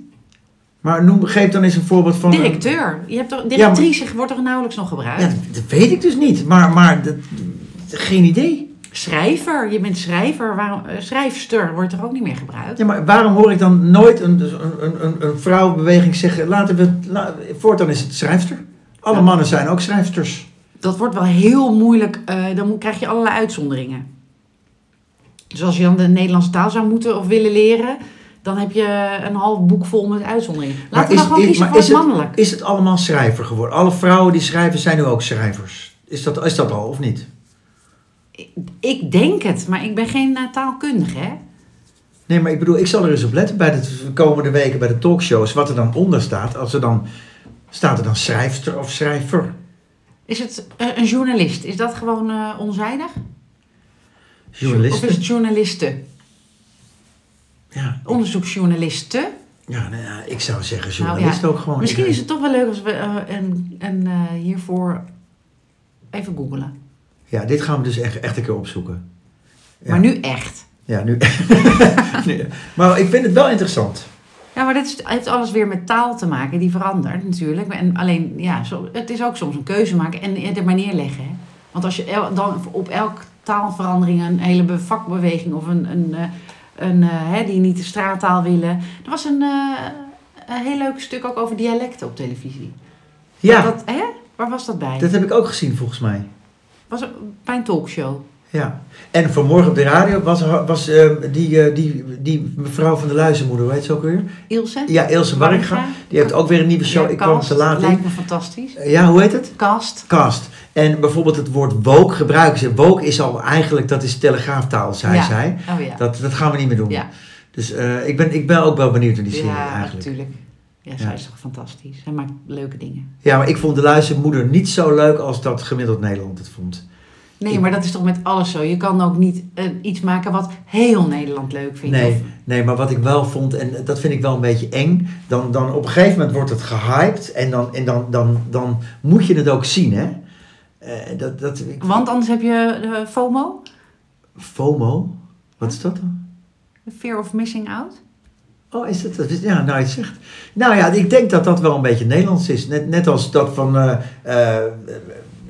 Speaker 1: Maar noem, geef dan eens een voorbeeld van...
Speaker 2: Directeur. Je hebt toch, directrice wordt toch nauwelijks nog gebruikt?
Speaker 1: Ja, dat weet ik dus niet, maar, maar dat, geen idee.
Speaker 2: Schrijver. Je bent schrijver. Waarom, eh, schrijfster wordt toch ook niet meer gebruikt?
Speaker 1: Ja, maar waarom hoor ik dan nooit een, dus een, een, een vrouwbeweging zeggen, laten we, la, voortaan is het schrijfster. Alle
Speaker 2: Ja.
Speaker 1: mannen zijn ook schrijfsters.
Speaker 2: Dat wordt wel heel moeilijk. eh, dan moet- krijg je allerlei uitzonderingen. Dus als je dan de Nederlandse taal zou moeten of willen leren, dan heb je een half boek vol met uitzonderingen. Laten we
Speaker 1: is,
Speaker 2: dan gewoon
Speaker 1: is-
Speaker 2: kiezen
Speaker 1: maar
Speaker 2: voor
Speaker 1: is
Speaker 2: het mannelijk.
Speaker 1: Het, is het allemaal schrijver geworden? Alle vrouwen die schrijven zijn nu ook schrijvers. Is dat, is dat al of niet?
Speaker 2: Ik denk het, maar ik ben geen eh, taalkundige. Hè?
Speaker 1: Nee, maar ik bedoel, ik zal er eens op letten bij de komende weken bij de talkshows. Wat er dan onder staat. Als er dan, staat er dan schrijfster of schrijver?
Speaker 2: Is het eh, een journalist? Is dat gewoon eh, onzijdig? Of
Speaker 1: Journalisten?
Speaker 2: is het journalisten?
Speaker 1: Ja,
Speaker 2: Onderzoeksjournalisten?
Speaker 1: ja nou ja, ik zou zeggen
Speaker 2: Nou ja,
Speaker 1: journalist ook gewoon.
Speaker 2: Misschien
Speaker 1: Ik-
Speaker 2: is het toch wel leuk als we eh, een, een, eh, hiervoor even googelen.
Speaker 1: Ja, dit gaan we dus echt, echt een keer opzoeken. Ja.
Speaker 2: Maar nu echt.
Speaker 1: Ja, nu... Nee, maar ik vind het wel interessant.
Speaker 2: Ja, maar dat is- heeft alles weer met taal te maken. Die verandert natuurlijk. En alleen, ja, zo, het is ook soms een keuze maken en er maar neerleggen. Hè? Want als je el- dan op elk taalverandering een hele be- vakbeweging of een, een, eh, een eh, hè, die niet de straattaal willen. Er was een, eh, een heel leuk stuk ook over dialecten op televisie.
Speaker 1: Ja, dat,
Speaker 2: Dat, hè? Waar was dat bij?
Speaker 1: heb ik ook gezien volgens mij.
Speaker 2: Was het bij een talkshow.
Speaker 1: Ja. En vanmorgen op de radio was, was eh, die, eh, die, die mevrouw van de Luizenmoeder, weet ze ook weer?
Speaker 2: Ilse?
Speaker 1: Ja, Ilse Warringa. Die heeft ook weer een nieuwe show.
Speaker 2: Ja,
Speaker 1: ik kwam
Speaker 2: Kast.
Speaker 1: te laat in.
Speaker 2: Lijkt me fantastisch.
Speaker 1: Ja, hoe heet het?
Speaker 2: Kast.
Speaker 1: Kast. En bijvoorbeeld het woord woke gebruiken ze. Woke is al eigenlijk, dat is telegraaftaal, zei
Speaker 2: ja.
Speaker 1: zij.
Speaker 2: Oh ja.
Speaker 1: Dat, dat gaan we niet meer doen.
Speaker 2: ja,
Speaker 1: Dus eh, ik, ben, ik ben ook wel benieuwd naar die serie
Speaker 2: ja
Speaker 1: eigenlijk.
Speaker 2: natuurlijk. Ja, zij is toch fantastisch. Hij maakt leuke dingen.
Speaker 1: Ja, maar ik vond de luistermoeder niet zo leuk als dat gemiddeld Nederland het vond.
Speaker 2: Nee,
Speaker 1: Ik-
Speaker 2: maar dat is toch met alles zo. Je kan ook niet eh, iets maken wat heel Nederland leuk vindt.
Speaker 1: Nee,
Speaker 2: Of-
Speaker 1: nee, maar wat ik wel vond, en dat vind ik wel een beetje eng, dan, dan op een gegeven moment wordt het gehyped en dan, en dan, dan, dan moet je het ook zien, hè? Eh, dat, dat, ik-
Speaker 2: Want anders heb je eh, FOMO.
Speaker 1: FOMO? Wat is dat dan?
Speaker 2: Fear of missing out.
Speaker 1: Oh, is dat, dat is- Ja, nou, je het zegt. Nou ja, ik denk dat dat wel een beetje Nederlands is. Net, net als dat van. eh, eh,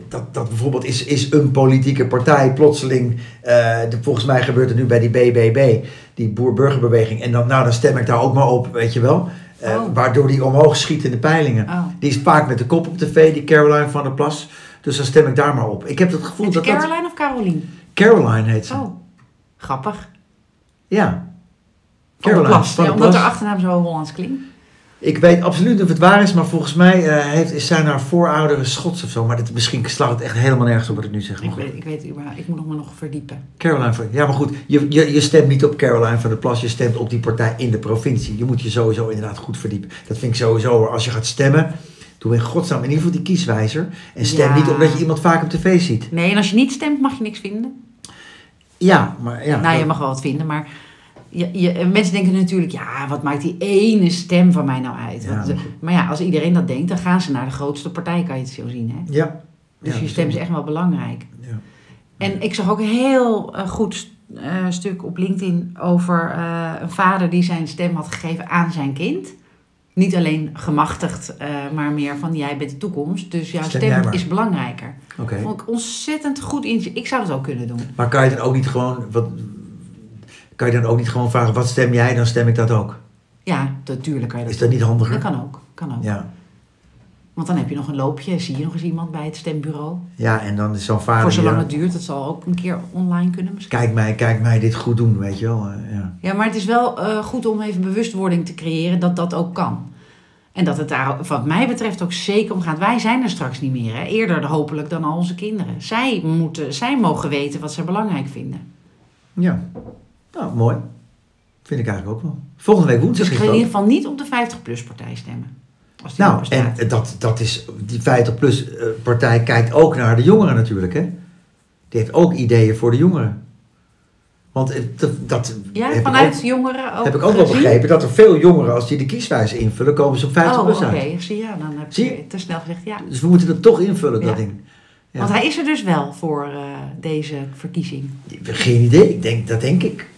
Speaker 1: dat, dat bijvoorbeeld is, is een politieke partij plotseling. eh, de, volgens mij gebeurt het nu bij die BBB, die boer-burgerbeweging. En dan, nou, dan stem ik daar ook maar op, weet je wel. Eh,
Speaker 2: Oh.
Speaker 1: Waardoor die omhoog schiet in de peilingen.
Speaker 2: Oh.
Speaker 1: Die is vaak met de kop op tv, die Caroline van der Plas. Dus dan stem ik daar maar op. Ik heb het gevoel
Speaker 2: Is
Speaker 1: dat
Speaker 2: het
Speaker 1: dat.
Speaker 2: Caroline of Caroline?
Speaker 1: Caroline heet ze.
Speaker 2: Oh, grappig.
Speaker 1: Ja.
Speaker 2: Caroline.
Speaker 1: van der
Speaker 2: omdat
Speaker 1: Plas.
Speaker 2: haar achternaam zo Hollands klinkt.
Speaker 1: Ik weet absoluut niet of het waar is, maar volgens mij eh, heeft, is zijn haar voorouderen Schots of zo. Maar dit, misschien slaat het echt helemaal nergens op wat ik nu zeg.
Speaker 2: Ik
Speaker 1: Maar
Speaker 2: weet, ik weet überhaupt, ik moet nog maar nog verdiepen.
Speaker 1: Caroline van... Ja, maar goed, je, je, je stemt niet op Caroline van der Plas. Je stemt op die partij in de provincie. Je moet je sowieso inderdaad goed verdiepen. Dat vind ik sowieso. hoor. Als je gaat stemmen, doe in godsnaam in ieder geval die kieswijzer. En stem
Speaker 2: Ja.
Speaker 1: niet omdat je iemand vaak op tv ziet.
Speaker 2: Nee, en als je niet stemt mag je niks vinden.
Speaker 1: Ja, maar ja.
Speaker 2: nou, je
Speaker 1: dat-
Speaker 2: mag wel wat vinden, maar je, je, en mensen denken natuurlijk, ja, wat maakt die ene stem van mij nou uit?
Speaker 1: Ja,
Speaker 2: Want,
Speaker 1: maar
Speaker 2: eh, maar ja, als iedereen dat denkt, dan gaan ze naar de grootste partij, kan je het zo zien. Hè?
Speaker 1: Ja.
Speaker 2: Dus
Speaker 1: Ja,
Speaker 2: je stem is echt wel belangrijk.
Speaker 1: Ja.
Speaker 2: En ik zag ook een heel eh, goed eh, stuk op LinkedIn over eh, een vader die zijn stem had gegeven aan zijn kind. Niet alleen gemachtigd, eh, maar meer van jij bent de toekomst, dus jouw
Speaker 1: Stem jij
Speaker 2: stem
Speaker 1: maar.
Speaker 2: is belangrijker.
Speaker 1: Oké.
Speaker 2: Vond ik ontzettend goed in. Ik zou dat ook kunnen doen.
Speaker 1: Maar kan je dan ook niet gewoon... Wat, kan je dan ook niet gewoon vragen, wat stem jij? Dan stem ik dat ook.
Speaker 2: Ja, natuurlijk kan je dat.
Speaker 1: Is dat niet
Speaker 2: doen.
Speaker 1: handiger?
Speaker 2: Dat kan ook. Kan ook.
Speaker 1: Ja.
Speaker 2: Want dan heb je nog een loopje. Zie je nog eens iemand bij het stembureau.
Speaker 1: Ja, en dan is zo'n vader...
Speaker 2: Voor zolang
Speaker 1: Ah, ja,
Speaker 2: het duurt. Dat zal ook een keer online kunnen misschien.
Speaker 1: Kijk mij, kijk mij dit goed doen, weet je wel. eh, Ja.
Speaker 2: Ja, maar het is wel eh, goed om even bewustwording te creëren dat dat ook kan. En dat het daar, wat mij betreft, ook zeker om gaat. Wij zijn er straks niet meer. Hè? Eerder hopelijk dan al onze kinderen. Zij, moeten, zij mogen weten wat ze belangrijk vinden.
Speaker 1: ja. Nou, mooi. Vind ik eigenlijk ook wel. Volgende week
Speaker 2: Dus
Speaker 1: woensdag
Speaker 2: ik
Speaker 1: is
Speaker 2: ga in
Speaker 1: dat.
Speaker 2: ieder geval niet op de 50-plus-partij stemmen. Als die er
Speaker 1: Nou,
Speaker 2: bestaat.
Speaker 1: en dat, dat is, die 50-plus-partij kijkt ook naar de jongeren natuurlijk, hè. Die heeft ook ideeën voor de jongeren. Want eh, dat, dat
Speaker 2: ja,
Speaker 1: heb,
Speaker 2: vanuit
Speaker 1: ik
Speaker 2: jongeren ook.
Speaker 1: ook, heb ik ook wel
Speaker 2: gezien.
Speaker 1: begrepen. Dat er veel jongeren, als die de kieswijze invullen, komen ze op 50
Speaker 2: Oh,
Speaker 1: plus
Speaker 2: oké.
Speaker 1: uit.
Speaker 2: Zie je, ja, dan heb
Speaker 1: Zie je?
Speaker 2: je te snel gezegd ja.
Speaker 1: Dus we moeten dat toch invullen, dat
Speaker 2: Ja.
Speaker 1: ding. Ja.
Speaker 2: Want hij is er dus wel voor eh, deze verkiezing.
Speaker 1: Geen idee, ik denk, dat denk ik.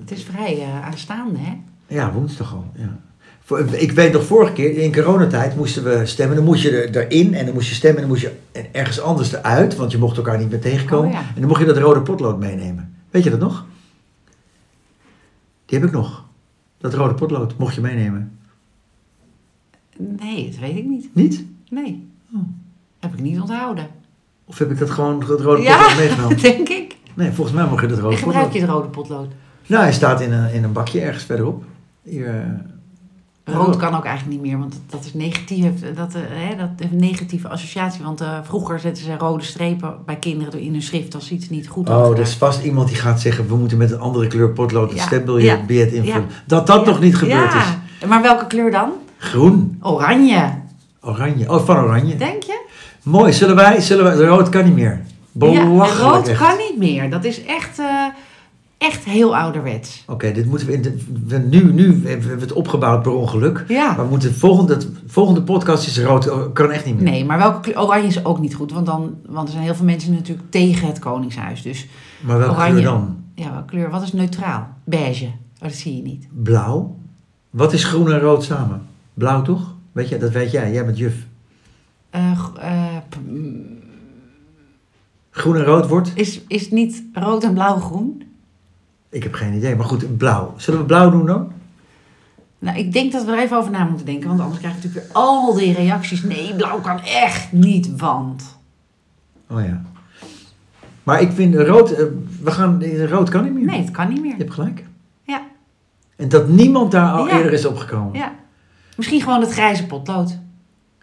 Speaker 2: Het is vrij eh, aanstaande, hè?
Speaker 1: Ja, woensdag al. Ja. Voor- Ik weet nog vorige keer, in coronatijd moesten we stemmen. Dan moest je er, erin en dan moest je stemmen en dan moest je en ergens anders eruit. Want je mocht elkaar niet meer tegenkomen.
Speaker 2: Oh, ja.
Speaker 1: En dan mocht je dat rode potlood meenemen. Weet je dat nog? Die heb ik nog. Dat rode potlood mocht je meenemen.
Speaker 2: Nee, dat weet ik niet.
Speaker 1: Niet?
Speaker 2: Nee.
Speaker 1: Oh.
Speaker 2: Heb ik niet onthouden.
Speaker 1: Of heb ik dat gewoon, dat rode
Speaker 2: ja,
Speaker 1: potlood meegenomen?
Speaker 2: denk ik.
Speaker 1: Nee, volgens mij mocht je dat rode
Speaker 2: En gebruik
Speaker 1: potlood.
Speaker 2: je het rode potlood.
Speaker 1: Nou, hij staat in een, in een bakje ergens verderop. Hier, eh, Oh.
Speaker 2: Rood kan ook eigenlijk niet meer, want dat is negatief. Dat, eh, hè, dat heeft een negatieve associatie. Want eh, vroeger zetten ze rode strepen bij kinderen door in hun schrift als ze iets niet goed hadden
Speaker 1: Oh, er
Speaker 2: gedaan.
Speaker 1: is vast iemand die gaat zeggen: we moeten met een andere kleur potlood het
Speaker 2: Ja.
Speaker 1: stembiljet
Speaker 2: Ja.
Speaker 1: biljet invullen.
Speaker 2: Ja.
Speaker 1: Dat dat
Speaker 2: Ja.
Speaker 1: nog niet gebeurd
Speaker 2: ja.
Speaker 1: is.
Speaker 2: Maar welke kleur dan?
Speaker 1: Groen,
Speaker 2: Oranje,
Speaker 1: oranje. Oh, van oranje.
Speaker 2: denk je?
Speaker 1: Mooi, zullen wij, zullen wij. Rood kan niet meer.
Speaker 2: ja,
Speaker 1: Belachelijk.
Speaker 2: rood
Speaker 1: echt.
Speaker 2: kan niet meer. Dat is echt, eh, echt heel ouderwets.
Speaker 1: Oké, dit moeten we, in de, we- nu, nu hebben we het opgebouwd per ongeluk. Maar
Speaker 2: Ja.
Speaker 1: we moeten volgende, volgende podcast is rood, oh, kan echt niet meer.
Speaker 2: Nee, maar welke kleur? Oranje is ook niet goed, want, dan, want er zijn heel veel mensen natuurlijk tegen het Koningshuis. Dus
Speaker 1: Maar welke
Speaker 2: Oranje.
Speaker 1: kleur dan?
Speaker 2: ja, welke kleur? Wat is neutraal? Beige. Oh, dat zie je niet.
Speaker 1: Blauw? Wat is groen en rood samen? Blauw toch? Weet je, dat weet jij, jij bent juf.
Speaker 2: Eh, g- eh, p- mm,
Speaker 1: Groen en rood wordt?
Speaker 2: is, is niet rood en blauw groen?
Speaker 1: Ik heb geen idee, maar goed, blauw. Zullen we blauw doen dan?
Speaker 2: Nou, ik denk dat we er even over na moeten denken, want anders krijg je natuurlijk weer al die reacties. Nee, blauw kan echt niet, want.
Speaker 1: Oh ja. Maar ik vind rood, eh, we gaan, rood kan niet meer.
Speaker 2: Nee, het kan niet
Speaker 1: Je
Speaker 2: meer.
Speaker 1: hebt gelijk.
Speaker 2: Ja.
Speaker 1: En dat niemand daar al
Speaker 2: Ja.
Speaker 1: eerder is opgekomen.
Speaker 2: Ja. Misschien gewoon het grijze potlood.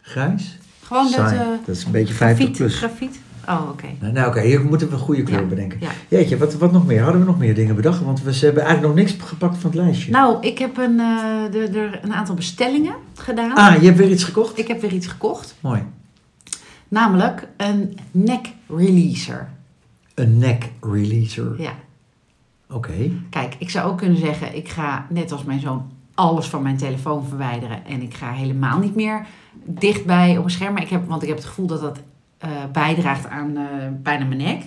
Speaker 1: Grijs?
Speaker 2: Gewoon dat
Speaker 1: Saai.
Speaker 2: eh
Speaker 1: dat is een beetje 50
Speaker 2: grafiet.
Speaker 1: plus.
Speaker 2: grafiet. Oh, oké.
Speaker 1: Nou, nou, oké, hier moeten we een goede kleur
Speaker 2: Ja.
Speaker 1: bedenken.
Speaker 2: Ja.
Speaker 1: Jeetje, wat, wat nog meer? Hadden we nog meer dingen bedacht? Want we ze hebben eigenlijk nog niks gepakt van het lijstje.
Speaker 2: Nou, ik heb een, eh, de- de- een aantal bestellingen gedaan.
Speaker 1: ah, je hebt weer iets gekocht?
Speaker 2: nou. Ik heb weer iets gekocht.
Speaker 1: Mooi.
Speaker 2: Namelijk een neck releaser.
Speaker 1: Een neck releaser.
Speaker 2: Ja.
Speaker 1: Oké.
Speaker 2: Kijk, ik zou ook kunnen zeggen, ik ga net als mijn zoon alles van mijn telefoon verwijderen. En ik ga helemaal niet meer dichtbij op een scherm. Maar ik heb, want ik heb het gevoel dat dat eh, bijdraagt aan eh, bijna mijn nek.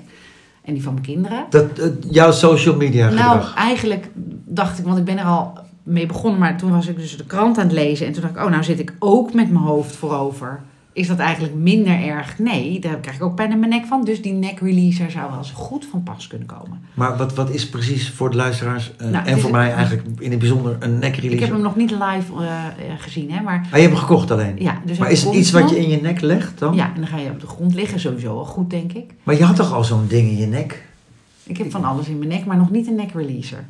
Speaker 2: En die van mijn kinderen.
Speaker 1: Dat eh, jouw social media
Speaker 2: Nou,
Speaker 1: gedrag.
Speaker 2: eigenlijk dacht ik, want ik ben er al mee begonnen. Maar toen was ik dus de krant aan het lezen. En toen dacht ik, oh, nou zit ik ook met mijn hoofd voorover. Is dat eigenlijk minder erg? Nee, daar krijg ik ook pijn in mijn nek van. Dus die neck releaser zou wel eens goed van pas kunnen komen.
Speaker 1: Maar wat, wat is precies voor de luisteraars eh,
Speaker 2: Nou, het
Speaker 1: en
Speaker 2: is
Speaker 1: voor
Speaker 2: een-
Speaker 1: mij eigenlijk in het bijzonder een neck
Speaker 2: Ik heb
Speaker 1: releaser?
Speaker 2: hem nog niet live eh, eh, gezien, hè, maar
Speaker 1: Ah, je hebt hem gekocht alleen?
Speaker 2: Ja, dus
Speaker 1: maar
Speaker 2: hij
Speaker 1: is het
Speaker 2: komt
Speaker 1: iets wat
Speaker 2: nog.
Speaker 1: je in je nek legt dan?
Speaker 2: Ja, en dan ga je op de grond liggen, sowieso al goed, denk ik.
Speaker 1: Maar je had toch al zo'n ding in je nek?
Speaker 2: Ik heb van alles in mijn nek, maar nog niet een neck releaser.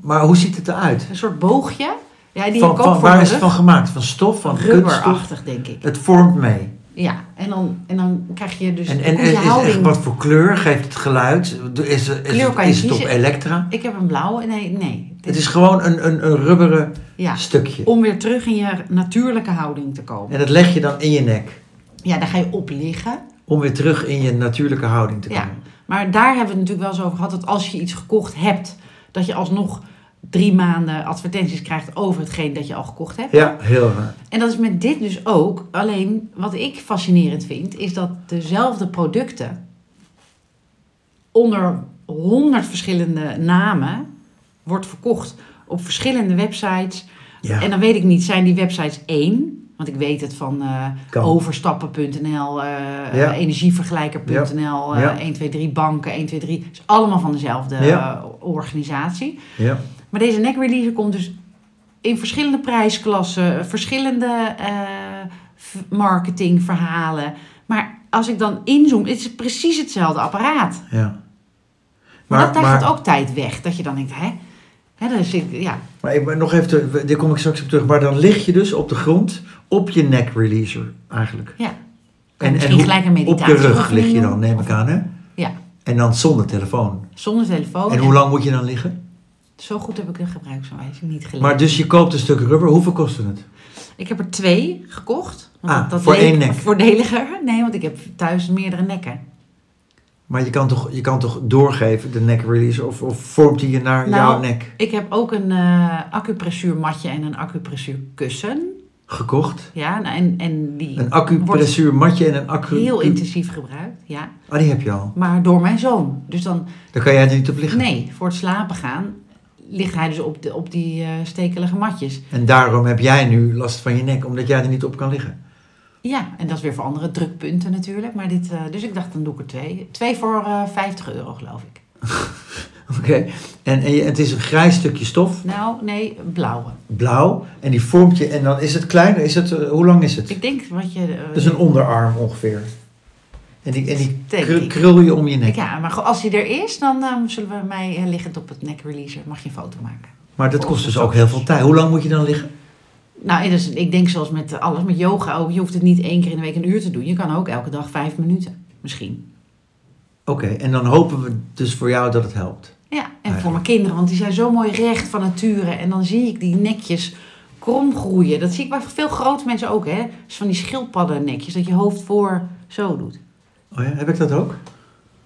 Speaker 1: Maar hoe ziet het eruit?
Speaker 2: Een soort boogje. Ja, die heb
Speaker 1: Van,
Speaker 2: ik ook
Speaker 1: van,
Speaker 2: voor
Speaker 1: waar
Speaker 2: mijn
Speaker 1: is het
Speaker 2: rug.
Speaker 1: van gemaakt? Van stof? Van kunststof?
Speaker 2: Rubberachtig, denk ik.
Speaker 1: Het vormt mee.
Speaker 2: Ja, en dan, en dan krijg je dus
Speaker 1: En, en,
Speaker 2: komt je
Speaker 1: en is echt
Speaker 2: houding.
Speaker 1: wat voor kleur? Geeft het geluid? Is, er- is,
Speaker 2: Kleur
Speaker 1: het,
Speaker 2: kan je
Speaker 1: is het op
Speaker 2: kiezen.
Speaker 1: elektra?
Speaker 2: Ik heb een blauwe. Nee, nee.
Speaker 1: Het is gewoon een, een, een rubberen
Speaker 2: ja,
Speaker 1: stukje.
Speaker 2: om weer terug in je natuurlijke houding te komen.
Speaker 1: En dat leg je dan in je nek.
Speaker 2: Ja, daar ga je op liggen.
Speaker 1: Om weer terug in je natuurlijke houding te
Speaker 2: Ja.
Speaker 1: komen.
Speaker 2: Maar daar hebben we het natuurlijk wel eens over gehad. Dat als je iets gekocht hebt, dat je alsnog drie maanden advertenties krijgt over hetgeen dat je al gekocht hebt.
Speaker 1: Ja, heel raar.
Speaker 2: En dat is met dit dus ook. Alleen wat ik fascinerend vind, is dat dezelfde producten onder honderd verschillende namen wordt verkocht op verschillende websites.
Speaker 1: Ja.
Speaker 2: En dan weet ik niet, zijn die websites één? Want ik weet het van eh,
Speaker 1: Kan.
Speaker 2: overstappen.nl, eh,
Speaker 1: Ja.
Speaker 2: energievergelijker.nl, eh,
Speaker 1: Ja.
Speaker 2: 123 banken, 123. Het is allemaal van dezelfde
Speaker 1: Ja.
Speaker 2: eh, organisatie.
Speaker 1: Ja.
Speaker 2: Maar deze neck releaser komt dus in verschillende prijsklassen, verschillende eh, v- marketingverhalen. Maar als ik dan inzoom, het is precies hetzelfde apparaat. Maar,
Speaker 1: ja.
Speaker 2: dat, daar gaat ook tijd weg. Dat je dan denkt, hè? hè dan zit, ja.
Speaker 1: maar ik- maar nog even, te- daar kom ik straks op terug. Maar dan lig je dus op de grond op je nek releaser eigenlijk.
Speaker 2: ja.
Speaker 1: En,
Speaker 2: misschien
Speaker 1: hoe-
Speaker 2: gelijk een
Speaker 1: op je rug
Speaker 2: meditatieoefening
Speaker 1: lig je
Speaker 2: doen.
Speaker 1: dan, neem ik aan. Hè?
Speaker 2: Ja,
Speaker 1: En dan zonder telefoon.
Speaker 2: zonder telefoon.
Speaker 1: En hoe lang moet je dan liggen?
Speaker 2: Zo goed heb ik de gebruiksaanwijzing niet gelezen.
Speaker 1: Maar dus je koopt een stuk rubber. Hoeveel kost het?
Speaker 2: Ik heb er twee gekocht. Want
Speaker 1: Ah,
Speaker 2: dat, dat
Speaker 1: voor
Speaker 2: leek
Speaker 1: één nek.
Speaker 2: Voordeliger. Nee, want ik heb thuis meerdere nekken.
Speaker 1: Maar je kan toch, je kan toch doorgeven, de neck release, of, of vormt die je naar
Speaker 2: Nou,
Speaker 1: jouw nek
Speaker 2: Ik heb ook een eh acupressuurmatje en een acupressuurkussen.
Speaker 1: gekocht?
Speaker 2: Ja, nou, en, en die
Speaker 1: Een acupressuurmatje en een accu...
Speaker 2: heel intensief gebruikt, ja.
Speaker 1: Ah, die heb je al.
Speaker 2: Maar door mijn zoon. Dus dan,
Speaker 1: Daar kan jij er niet op liggen.
Speaker 2: nee, voor het slapen gaan ligt hij dus op, de, op die eh, stekelige matjes.
Speaker 1: En daarom heb jij nu last van je nek, omdat jij er niet op kan liggen.
Speaker 2: Ja, en dat is weer voor andere drukpunten natuurlijk. Maar dit, eh, dus ik dacht, dan doe ik er twee. Twee voor eh 50 euro, geloof ik.
Speaker 1: Oké. En, en je- het is een grijs stukje stof,
Speaker 2: Nou, nee, blauwe.
Speaker 1: blauw, en die vormt je. En dan is het klein, is het, eh, hoe lang is het?
Speaker 2: Ik denk wat je... eh,
Speaker 1: Dat is een onderarm ongeveer. En die, en die
Speaker 2: Denk
Speaker 1: kru-
Speaker 2: ik.
Speaker 1: krul je om je nek.
Speaker 2: Ja, maar goed, als hij er is, dan eh, zullen we mij eh, liggend op het nek releasen. Mag je een foto maken.
Speaker 1: Maar dat kost dus ook heel veel tijd. Hoe lang moet je dan liggen?
Speaker 2: Nou, en dus, ik denk zoals met alles, met yoga ook. Je hoeft het niet één keer in de week een uur te doen. Je kan ook elke dag vijf minuten, misschien.
Speaker 1: Oké, en dan hopen we dus voor jou dat het helpt.
Speaker 2: Ja, en
Speaker 1: Eigenlijk.
Speaker 2: voor mijn kinderen, want die zijn zo mooi recht van nature. En dan zie ik die nekjes krom groeien. Dat zie ik bij veel grote mensen ook, hè. Dus van die schildpaddennekjes, dat je hoofd voor zo doet.
Speaker 1: Oh ja, heb ik dat ook?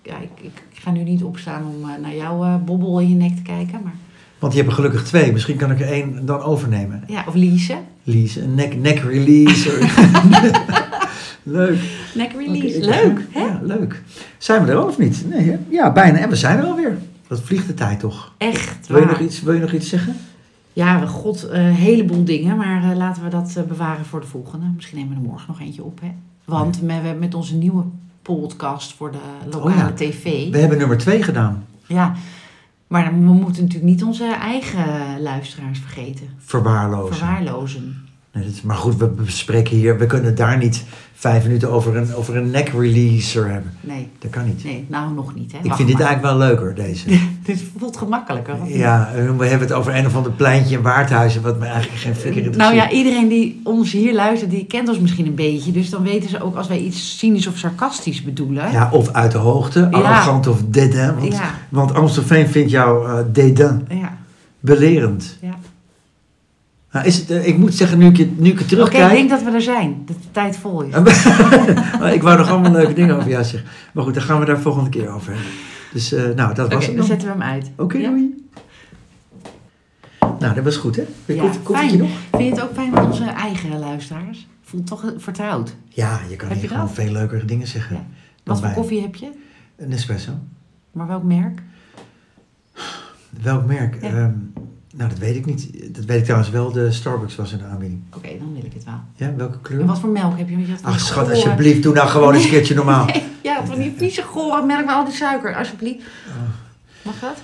Speaker 2: Ja, ik, ik ga nu niet opstaan om eh, naar jouw eh, bobbel in je nek te kijken, maar...
Speaker 1: Want je hebt er gelukkig twee. Misschien kan ik er één dan overnemen.
Speaker 2: Ja, of leasen.
Speaker 1: Lease, een neck, neck release. leuk.
Speaker 2: Nek release,
Speaker 1: Oké, ik-
Speaker 2: leuk, hè?
Speaker 1: Ja, leuk. Zijn we er al of niet? Nee, hè? ja, bijna. En we zijn er alweer. Dat vliegt de tijd toch?
Speaker 2: Echt
Speaker 1: Wil je,
Speaker 2: waar.
Speaker 1: nog iets, wil je nog iets zeggen?
Speaker 2: Ja, god, eh, een heleboel dingen. Maar eh, laten we dat eh, bewaren voor de volgende. Misschien nemen we er morgen nog eentje op. Hè? Want we hebben met onze nieuwe podcast voor de lokale
Speaker 1: Oh ja.
Speaker 2: tv.
Speaker 1: We hebben nummer twee gedaan.
Speaker 2: Ja, maar we moeten natuurlijk niet onze eigen luisteraars vergeten.
Speaker 1: Verwaarlozen.
Speaker 2: Verwaarlozen.
Speaker 1: Nee, dat is- maar goed, we bespreken hier, we kunnen daar niet vijf minuten over een, over een neck releaser hebben.
Speaker 2: Nee,
Speaker 1: Dat kan niet.
Speaker 2: nee, nou nog niet. Hè.
Speaker 1: Ik
Speaker 2: Wacht
Speaker 1: vind dit
Speaker 2: maar.
Speaker 1: eigenlijk wel leuker, deze.
Speaker 2: dit voelt gemakkelijker. of niet?
Speaker 1: Ja, eh, we hebben het over een of ander pleintje in Waardhuizen, wat me eigenlijk geen flikker interesseert.
Speaker 2: Nou ja, iedereen die ons hier luistert, die kent ons misschien een beetje. Dus dan weten ze ook als wij iets cynisch of sarcastisch bedoelen.
Speaker 1: Ja, of uit de hoogte, arrogant of dédain. Want,
Speaker 2: Ja.
Speaker 1: want Amstelveen vindt jou eh dédain,
Speaker 2: ja.
Speaker 1: belerend.
Speaker 2: ja.
Speaker 1: Nou, is het, eh, ik moet zeggen, nu ik, het- nu ik het
Speaker 2: Oké,
Speaker 1: terugkijk...
Speaker 2: ik denk dat we er zijn. Dat de tijd vol
Speaker 1: Oh,
Speaker 2: is.
Speaker 1: Maar ik wou nog allemaal leuke dingen over jou zeggen. Maar goed, daar gaan we daar volgende keer over hebben. Dus eh, nou, dat
Speaker 2: Oké,
Speaker 1: was het dan.
Speaker 2: dan
Speaker 1: Oké,
Speaker 2: zetten we hem uit. Ja.
Speaker 1: doei. Nou, dat was goed, hè?
Speaker 2: Ja,
Speaker 1: Koffie- koffietje
Speaker 2: fijn.
Speaker 1: nog?
Speaker 2: Vind je het ook fijn met onze eigen luisteraars? Voelt toch vertrouwd.
Speaker 1: Ja, je kan
Speaker 2: Heb
Speaker 1: hier
Speaker 2: je
Speaker 1: gewoon
Speaker 2: dat?
Speaker 1: veel leukere dingen zeggen.
Speaker 2: Ja.
Speaker 1: dan
Speaker 2: Wat voor
Speaker 1: wij.
Speaker 2: koffie heb je?
Speaker 1: Een espresso.
Speaker 2: Maar welk merk?
Speaker 1: Welk merk?
Speaker 2: Ja.
Speaker 1: Ehm, nou, dat weet ik niet. Dat weet ik trouwens wel. De Starbucks was in de aanbieding.
Speaker 2: Oké, dan wil ik het wel.
Speaker 1: Ja, welke
Speaker 2: En
Speaker 1: kleur?
Speaker 2: wat voor melk heb je? Want je had van
Speaker 1: Ach,
Speaker 2: die
Speaker 1: schat,
Speaker 2: gore-
Speaker 1: alsjeblieft, doe nou gewoon eens een keertje normaal.
Speaker 2: Nee, ja, van die vieze gore melk met al die suiker, alsjeblieft.
Speaker 1: Ah.
Speaker 2: Mag dat?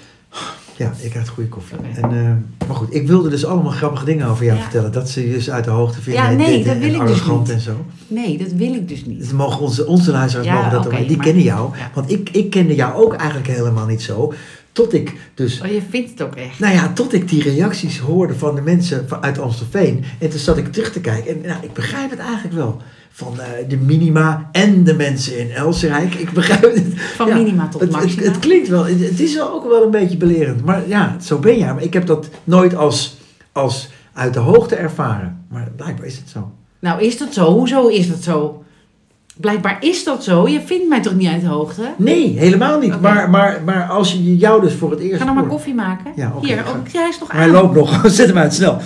Speaker 1: Ja, ik had goede koffie.
Speaker 2: Oké.
Speaker 1: En, eh, maar goed, ik wilde dus allemaal grappige dingen over jou
Speaker 2: Ja.
Speaker 1: vertellen. Dat ze je dus uit de hoogte vinden.
Speaker 2: Ja,
Speaker 1: en
Speaker 2: nee,
Speaker 1: dit
Speaker 2: dat
Speaker 1: en
Speaker 2: wil ik dus
Speaker 1: arrogant
Speaker 2: niet.
Speaker 1: en zo.
Speaker 2: Nee, dat wil ik dus niet.
Speaker 1: Dus mogen onze, onze luisteraars
Speaker 2: Ja,
Speaker 1: mogen dat
Speaker 2: oké,
Speaker 1: ook. Die
Speaker 2: maar-
Speaker 1: kennen jou.
Speaker 2: ja.
Speaker 1: Want ik, ik kende jou ook eigenlijk helemaal niet zo. Tot ik dus...
Speaker 2: Oh, je vindt het ook echt.
Speaker 1: Nou ja, tot ik die reacties hoorde van de mensen van- uit Amstelveen. En toen zat ik terug te kijken. En nou, ik begrijp het eigenlijk wel. Van eh, de minima en de mensen in Elserijk. Ik begrijp het.
Speaker 2: Van
Speaker 1: Ja,
Speaker 2: minima tot
Speaker 1: het,
Speaker 2: maxima.
Speaker 1: Het, het klinkt wel, het, het is wel ook wel een beetje belerend. Maar ja, zo ben jij. Maar ik heb dat nooit als, als uit de hoogte ervaren. Maar blijkbaar is het zo.
Speaker 2: Nou, is dat zo? Hoezo is dat zo? Blijkbaar is dat zo. Je vindt mij toch niet uit de hoogte?
Speaker 1: Nee, helemaal niet.
Speaker 2: Oké.
Speaker 1: Maar, maar, maar als je jou dus voor het eerst.
Speaker 2: Ga nou maar
Speaker 1: hoort-
Speaker 2: koffie maken.
Speaker 1: Ja, oké,
Speaker 2: Hier,
Speaker 1: ik ga-
Speaker 2: ook, jij is nog
Speaker 1: Hij
Speaker 2: aan.
Speaker 1: loopt nog, zet hem uit snel.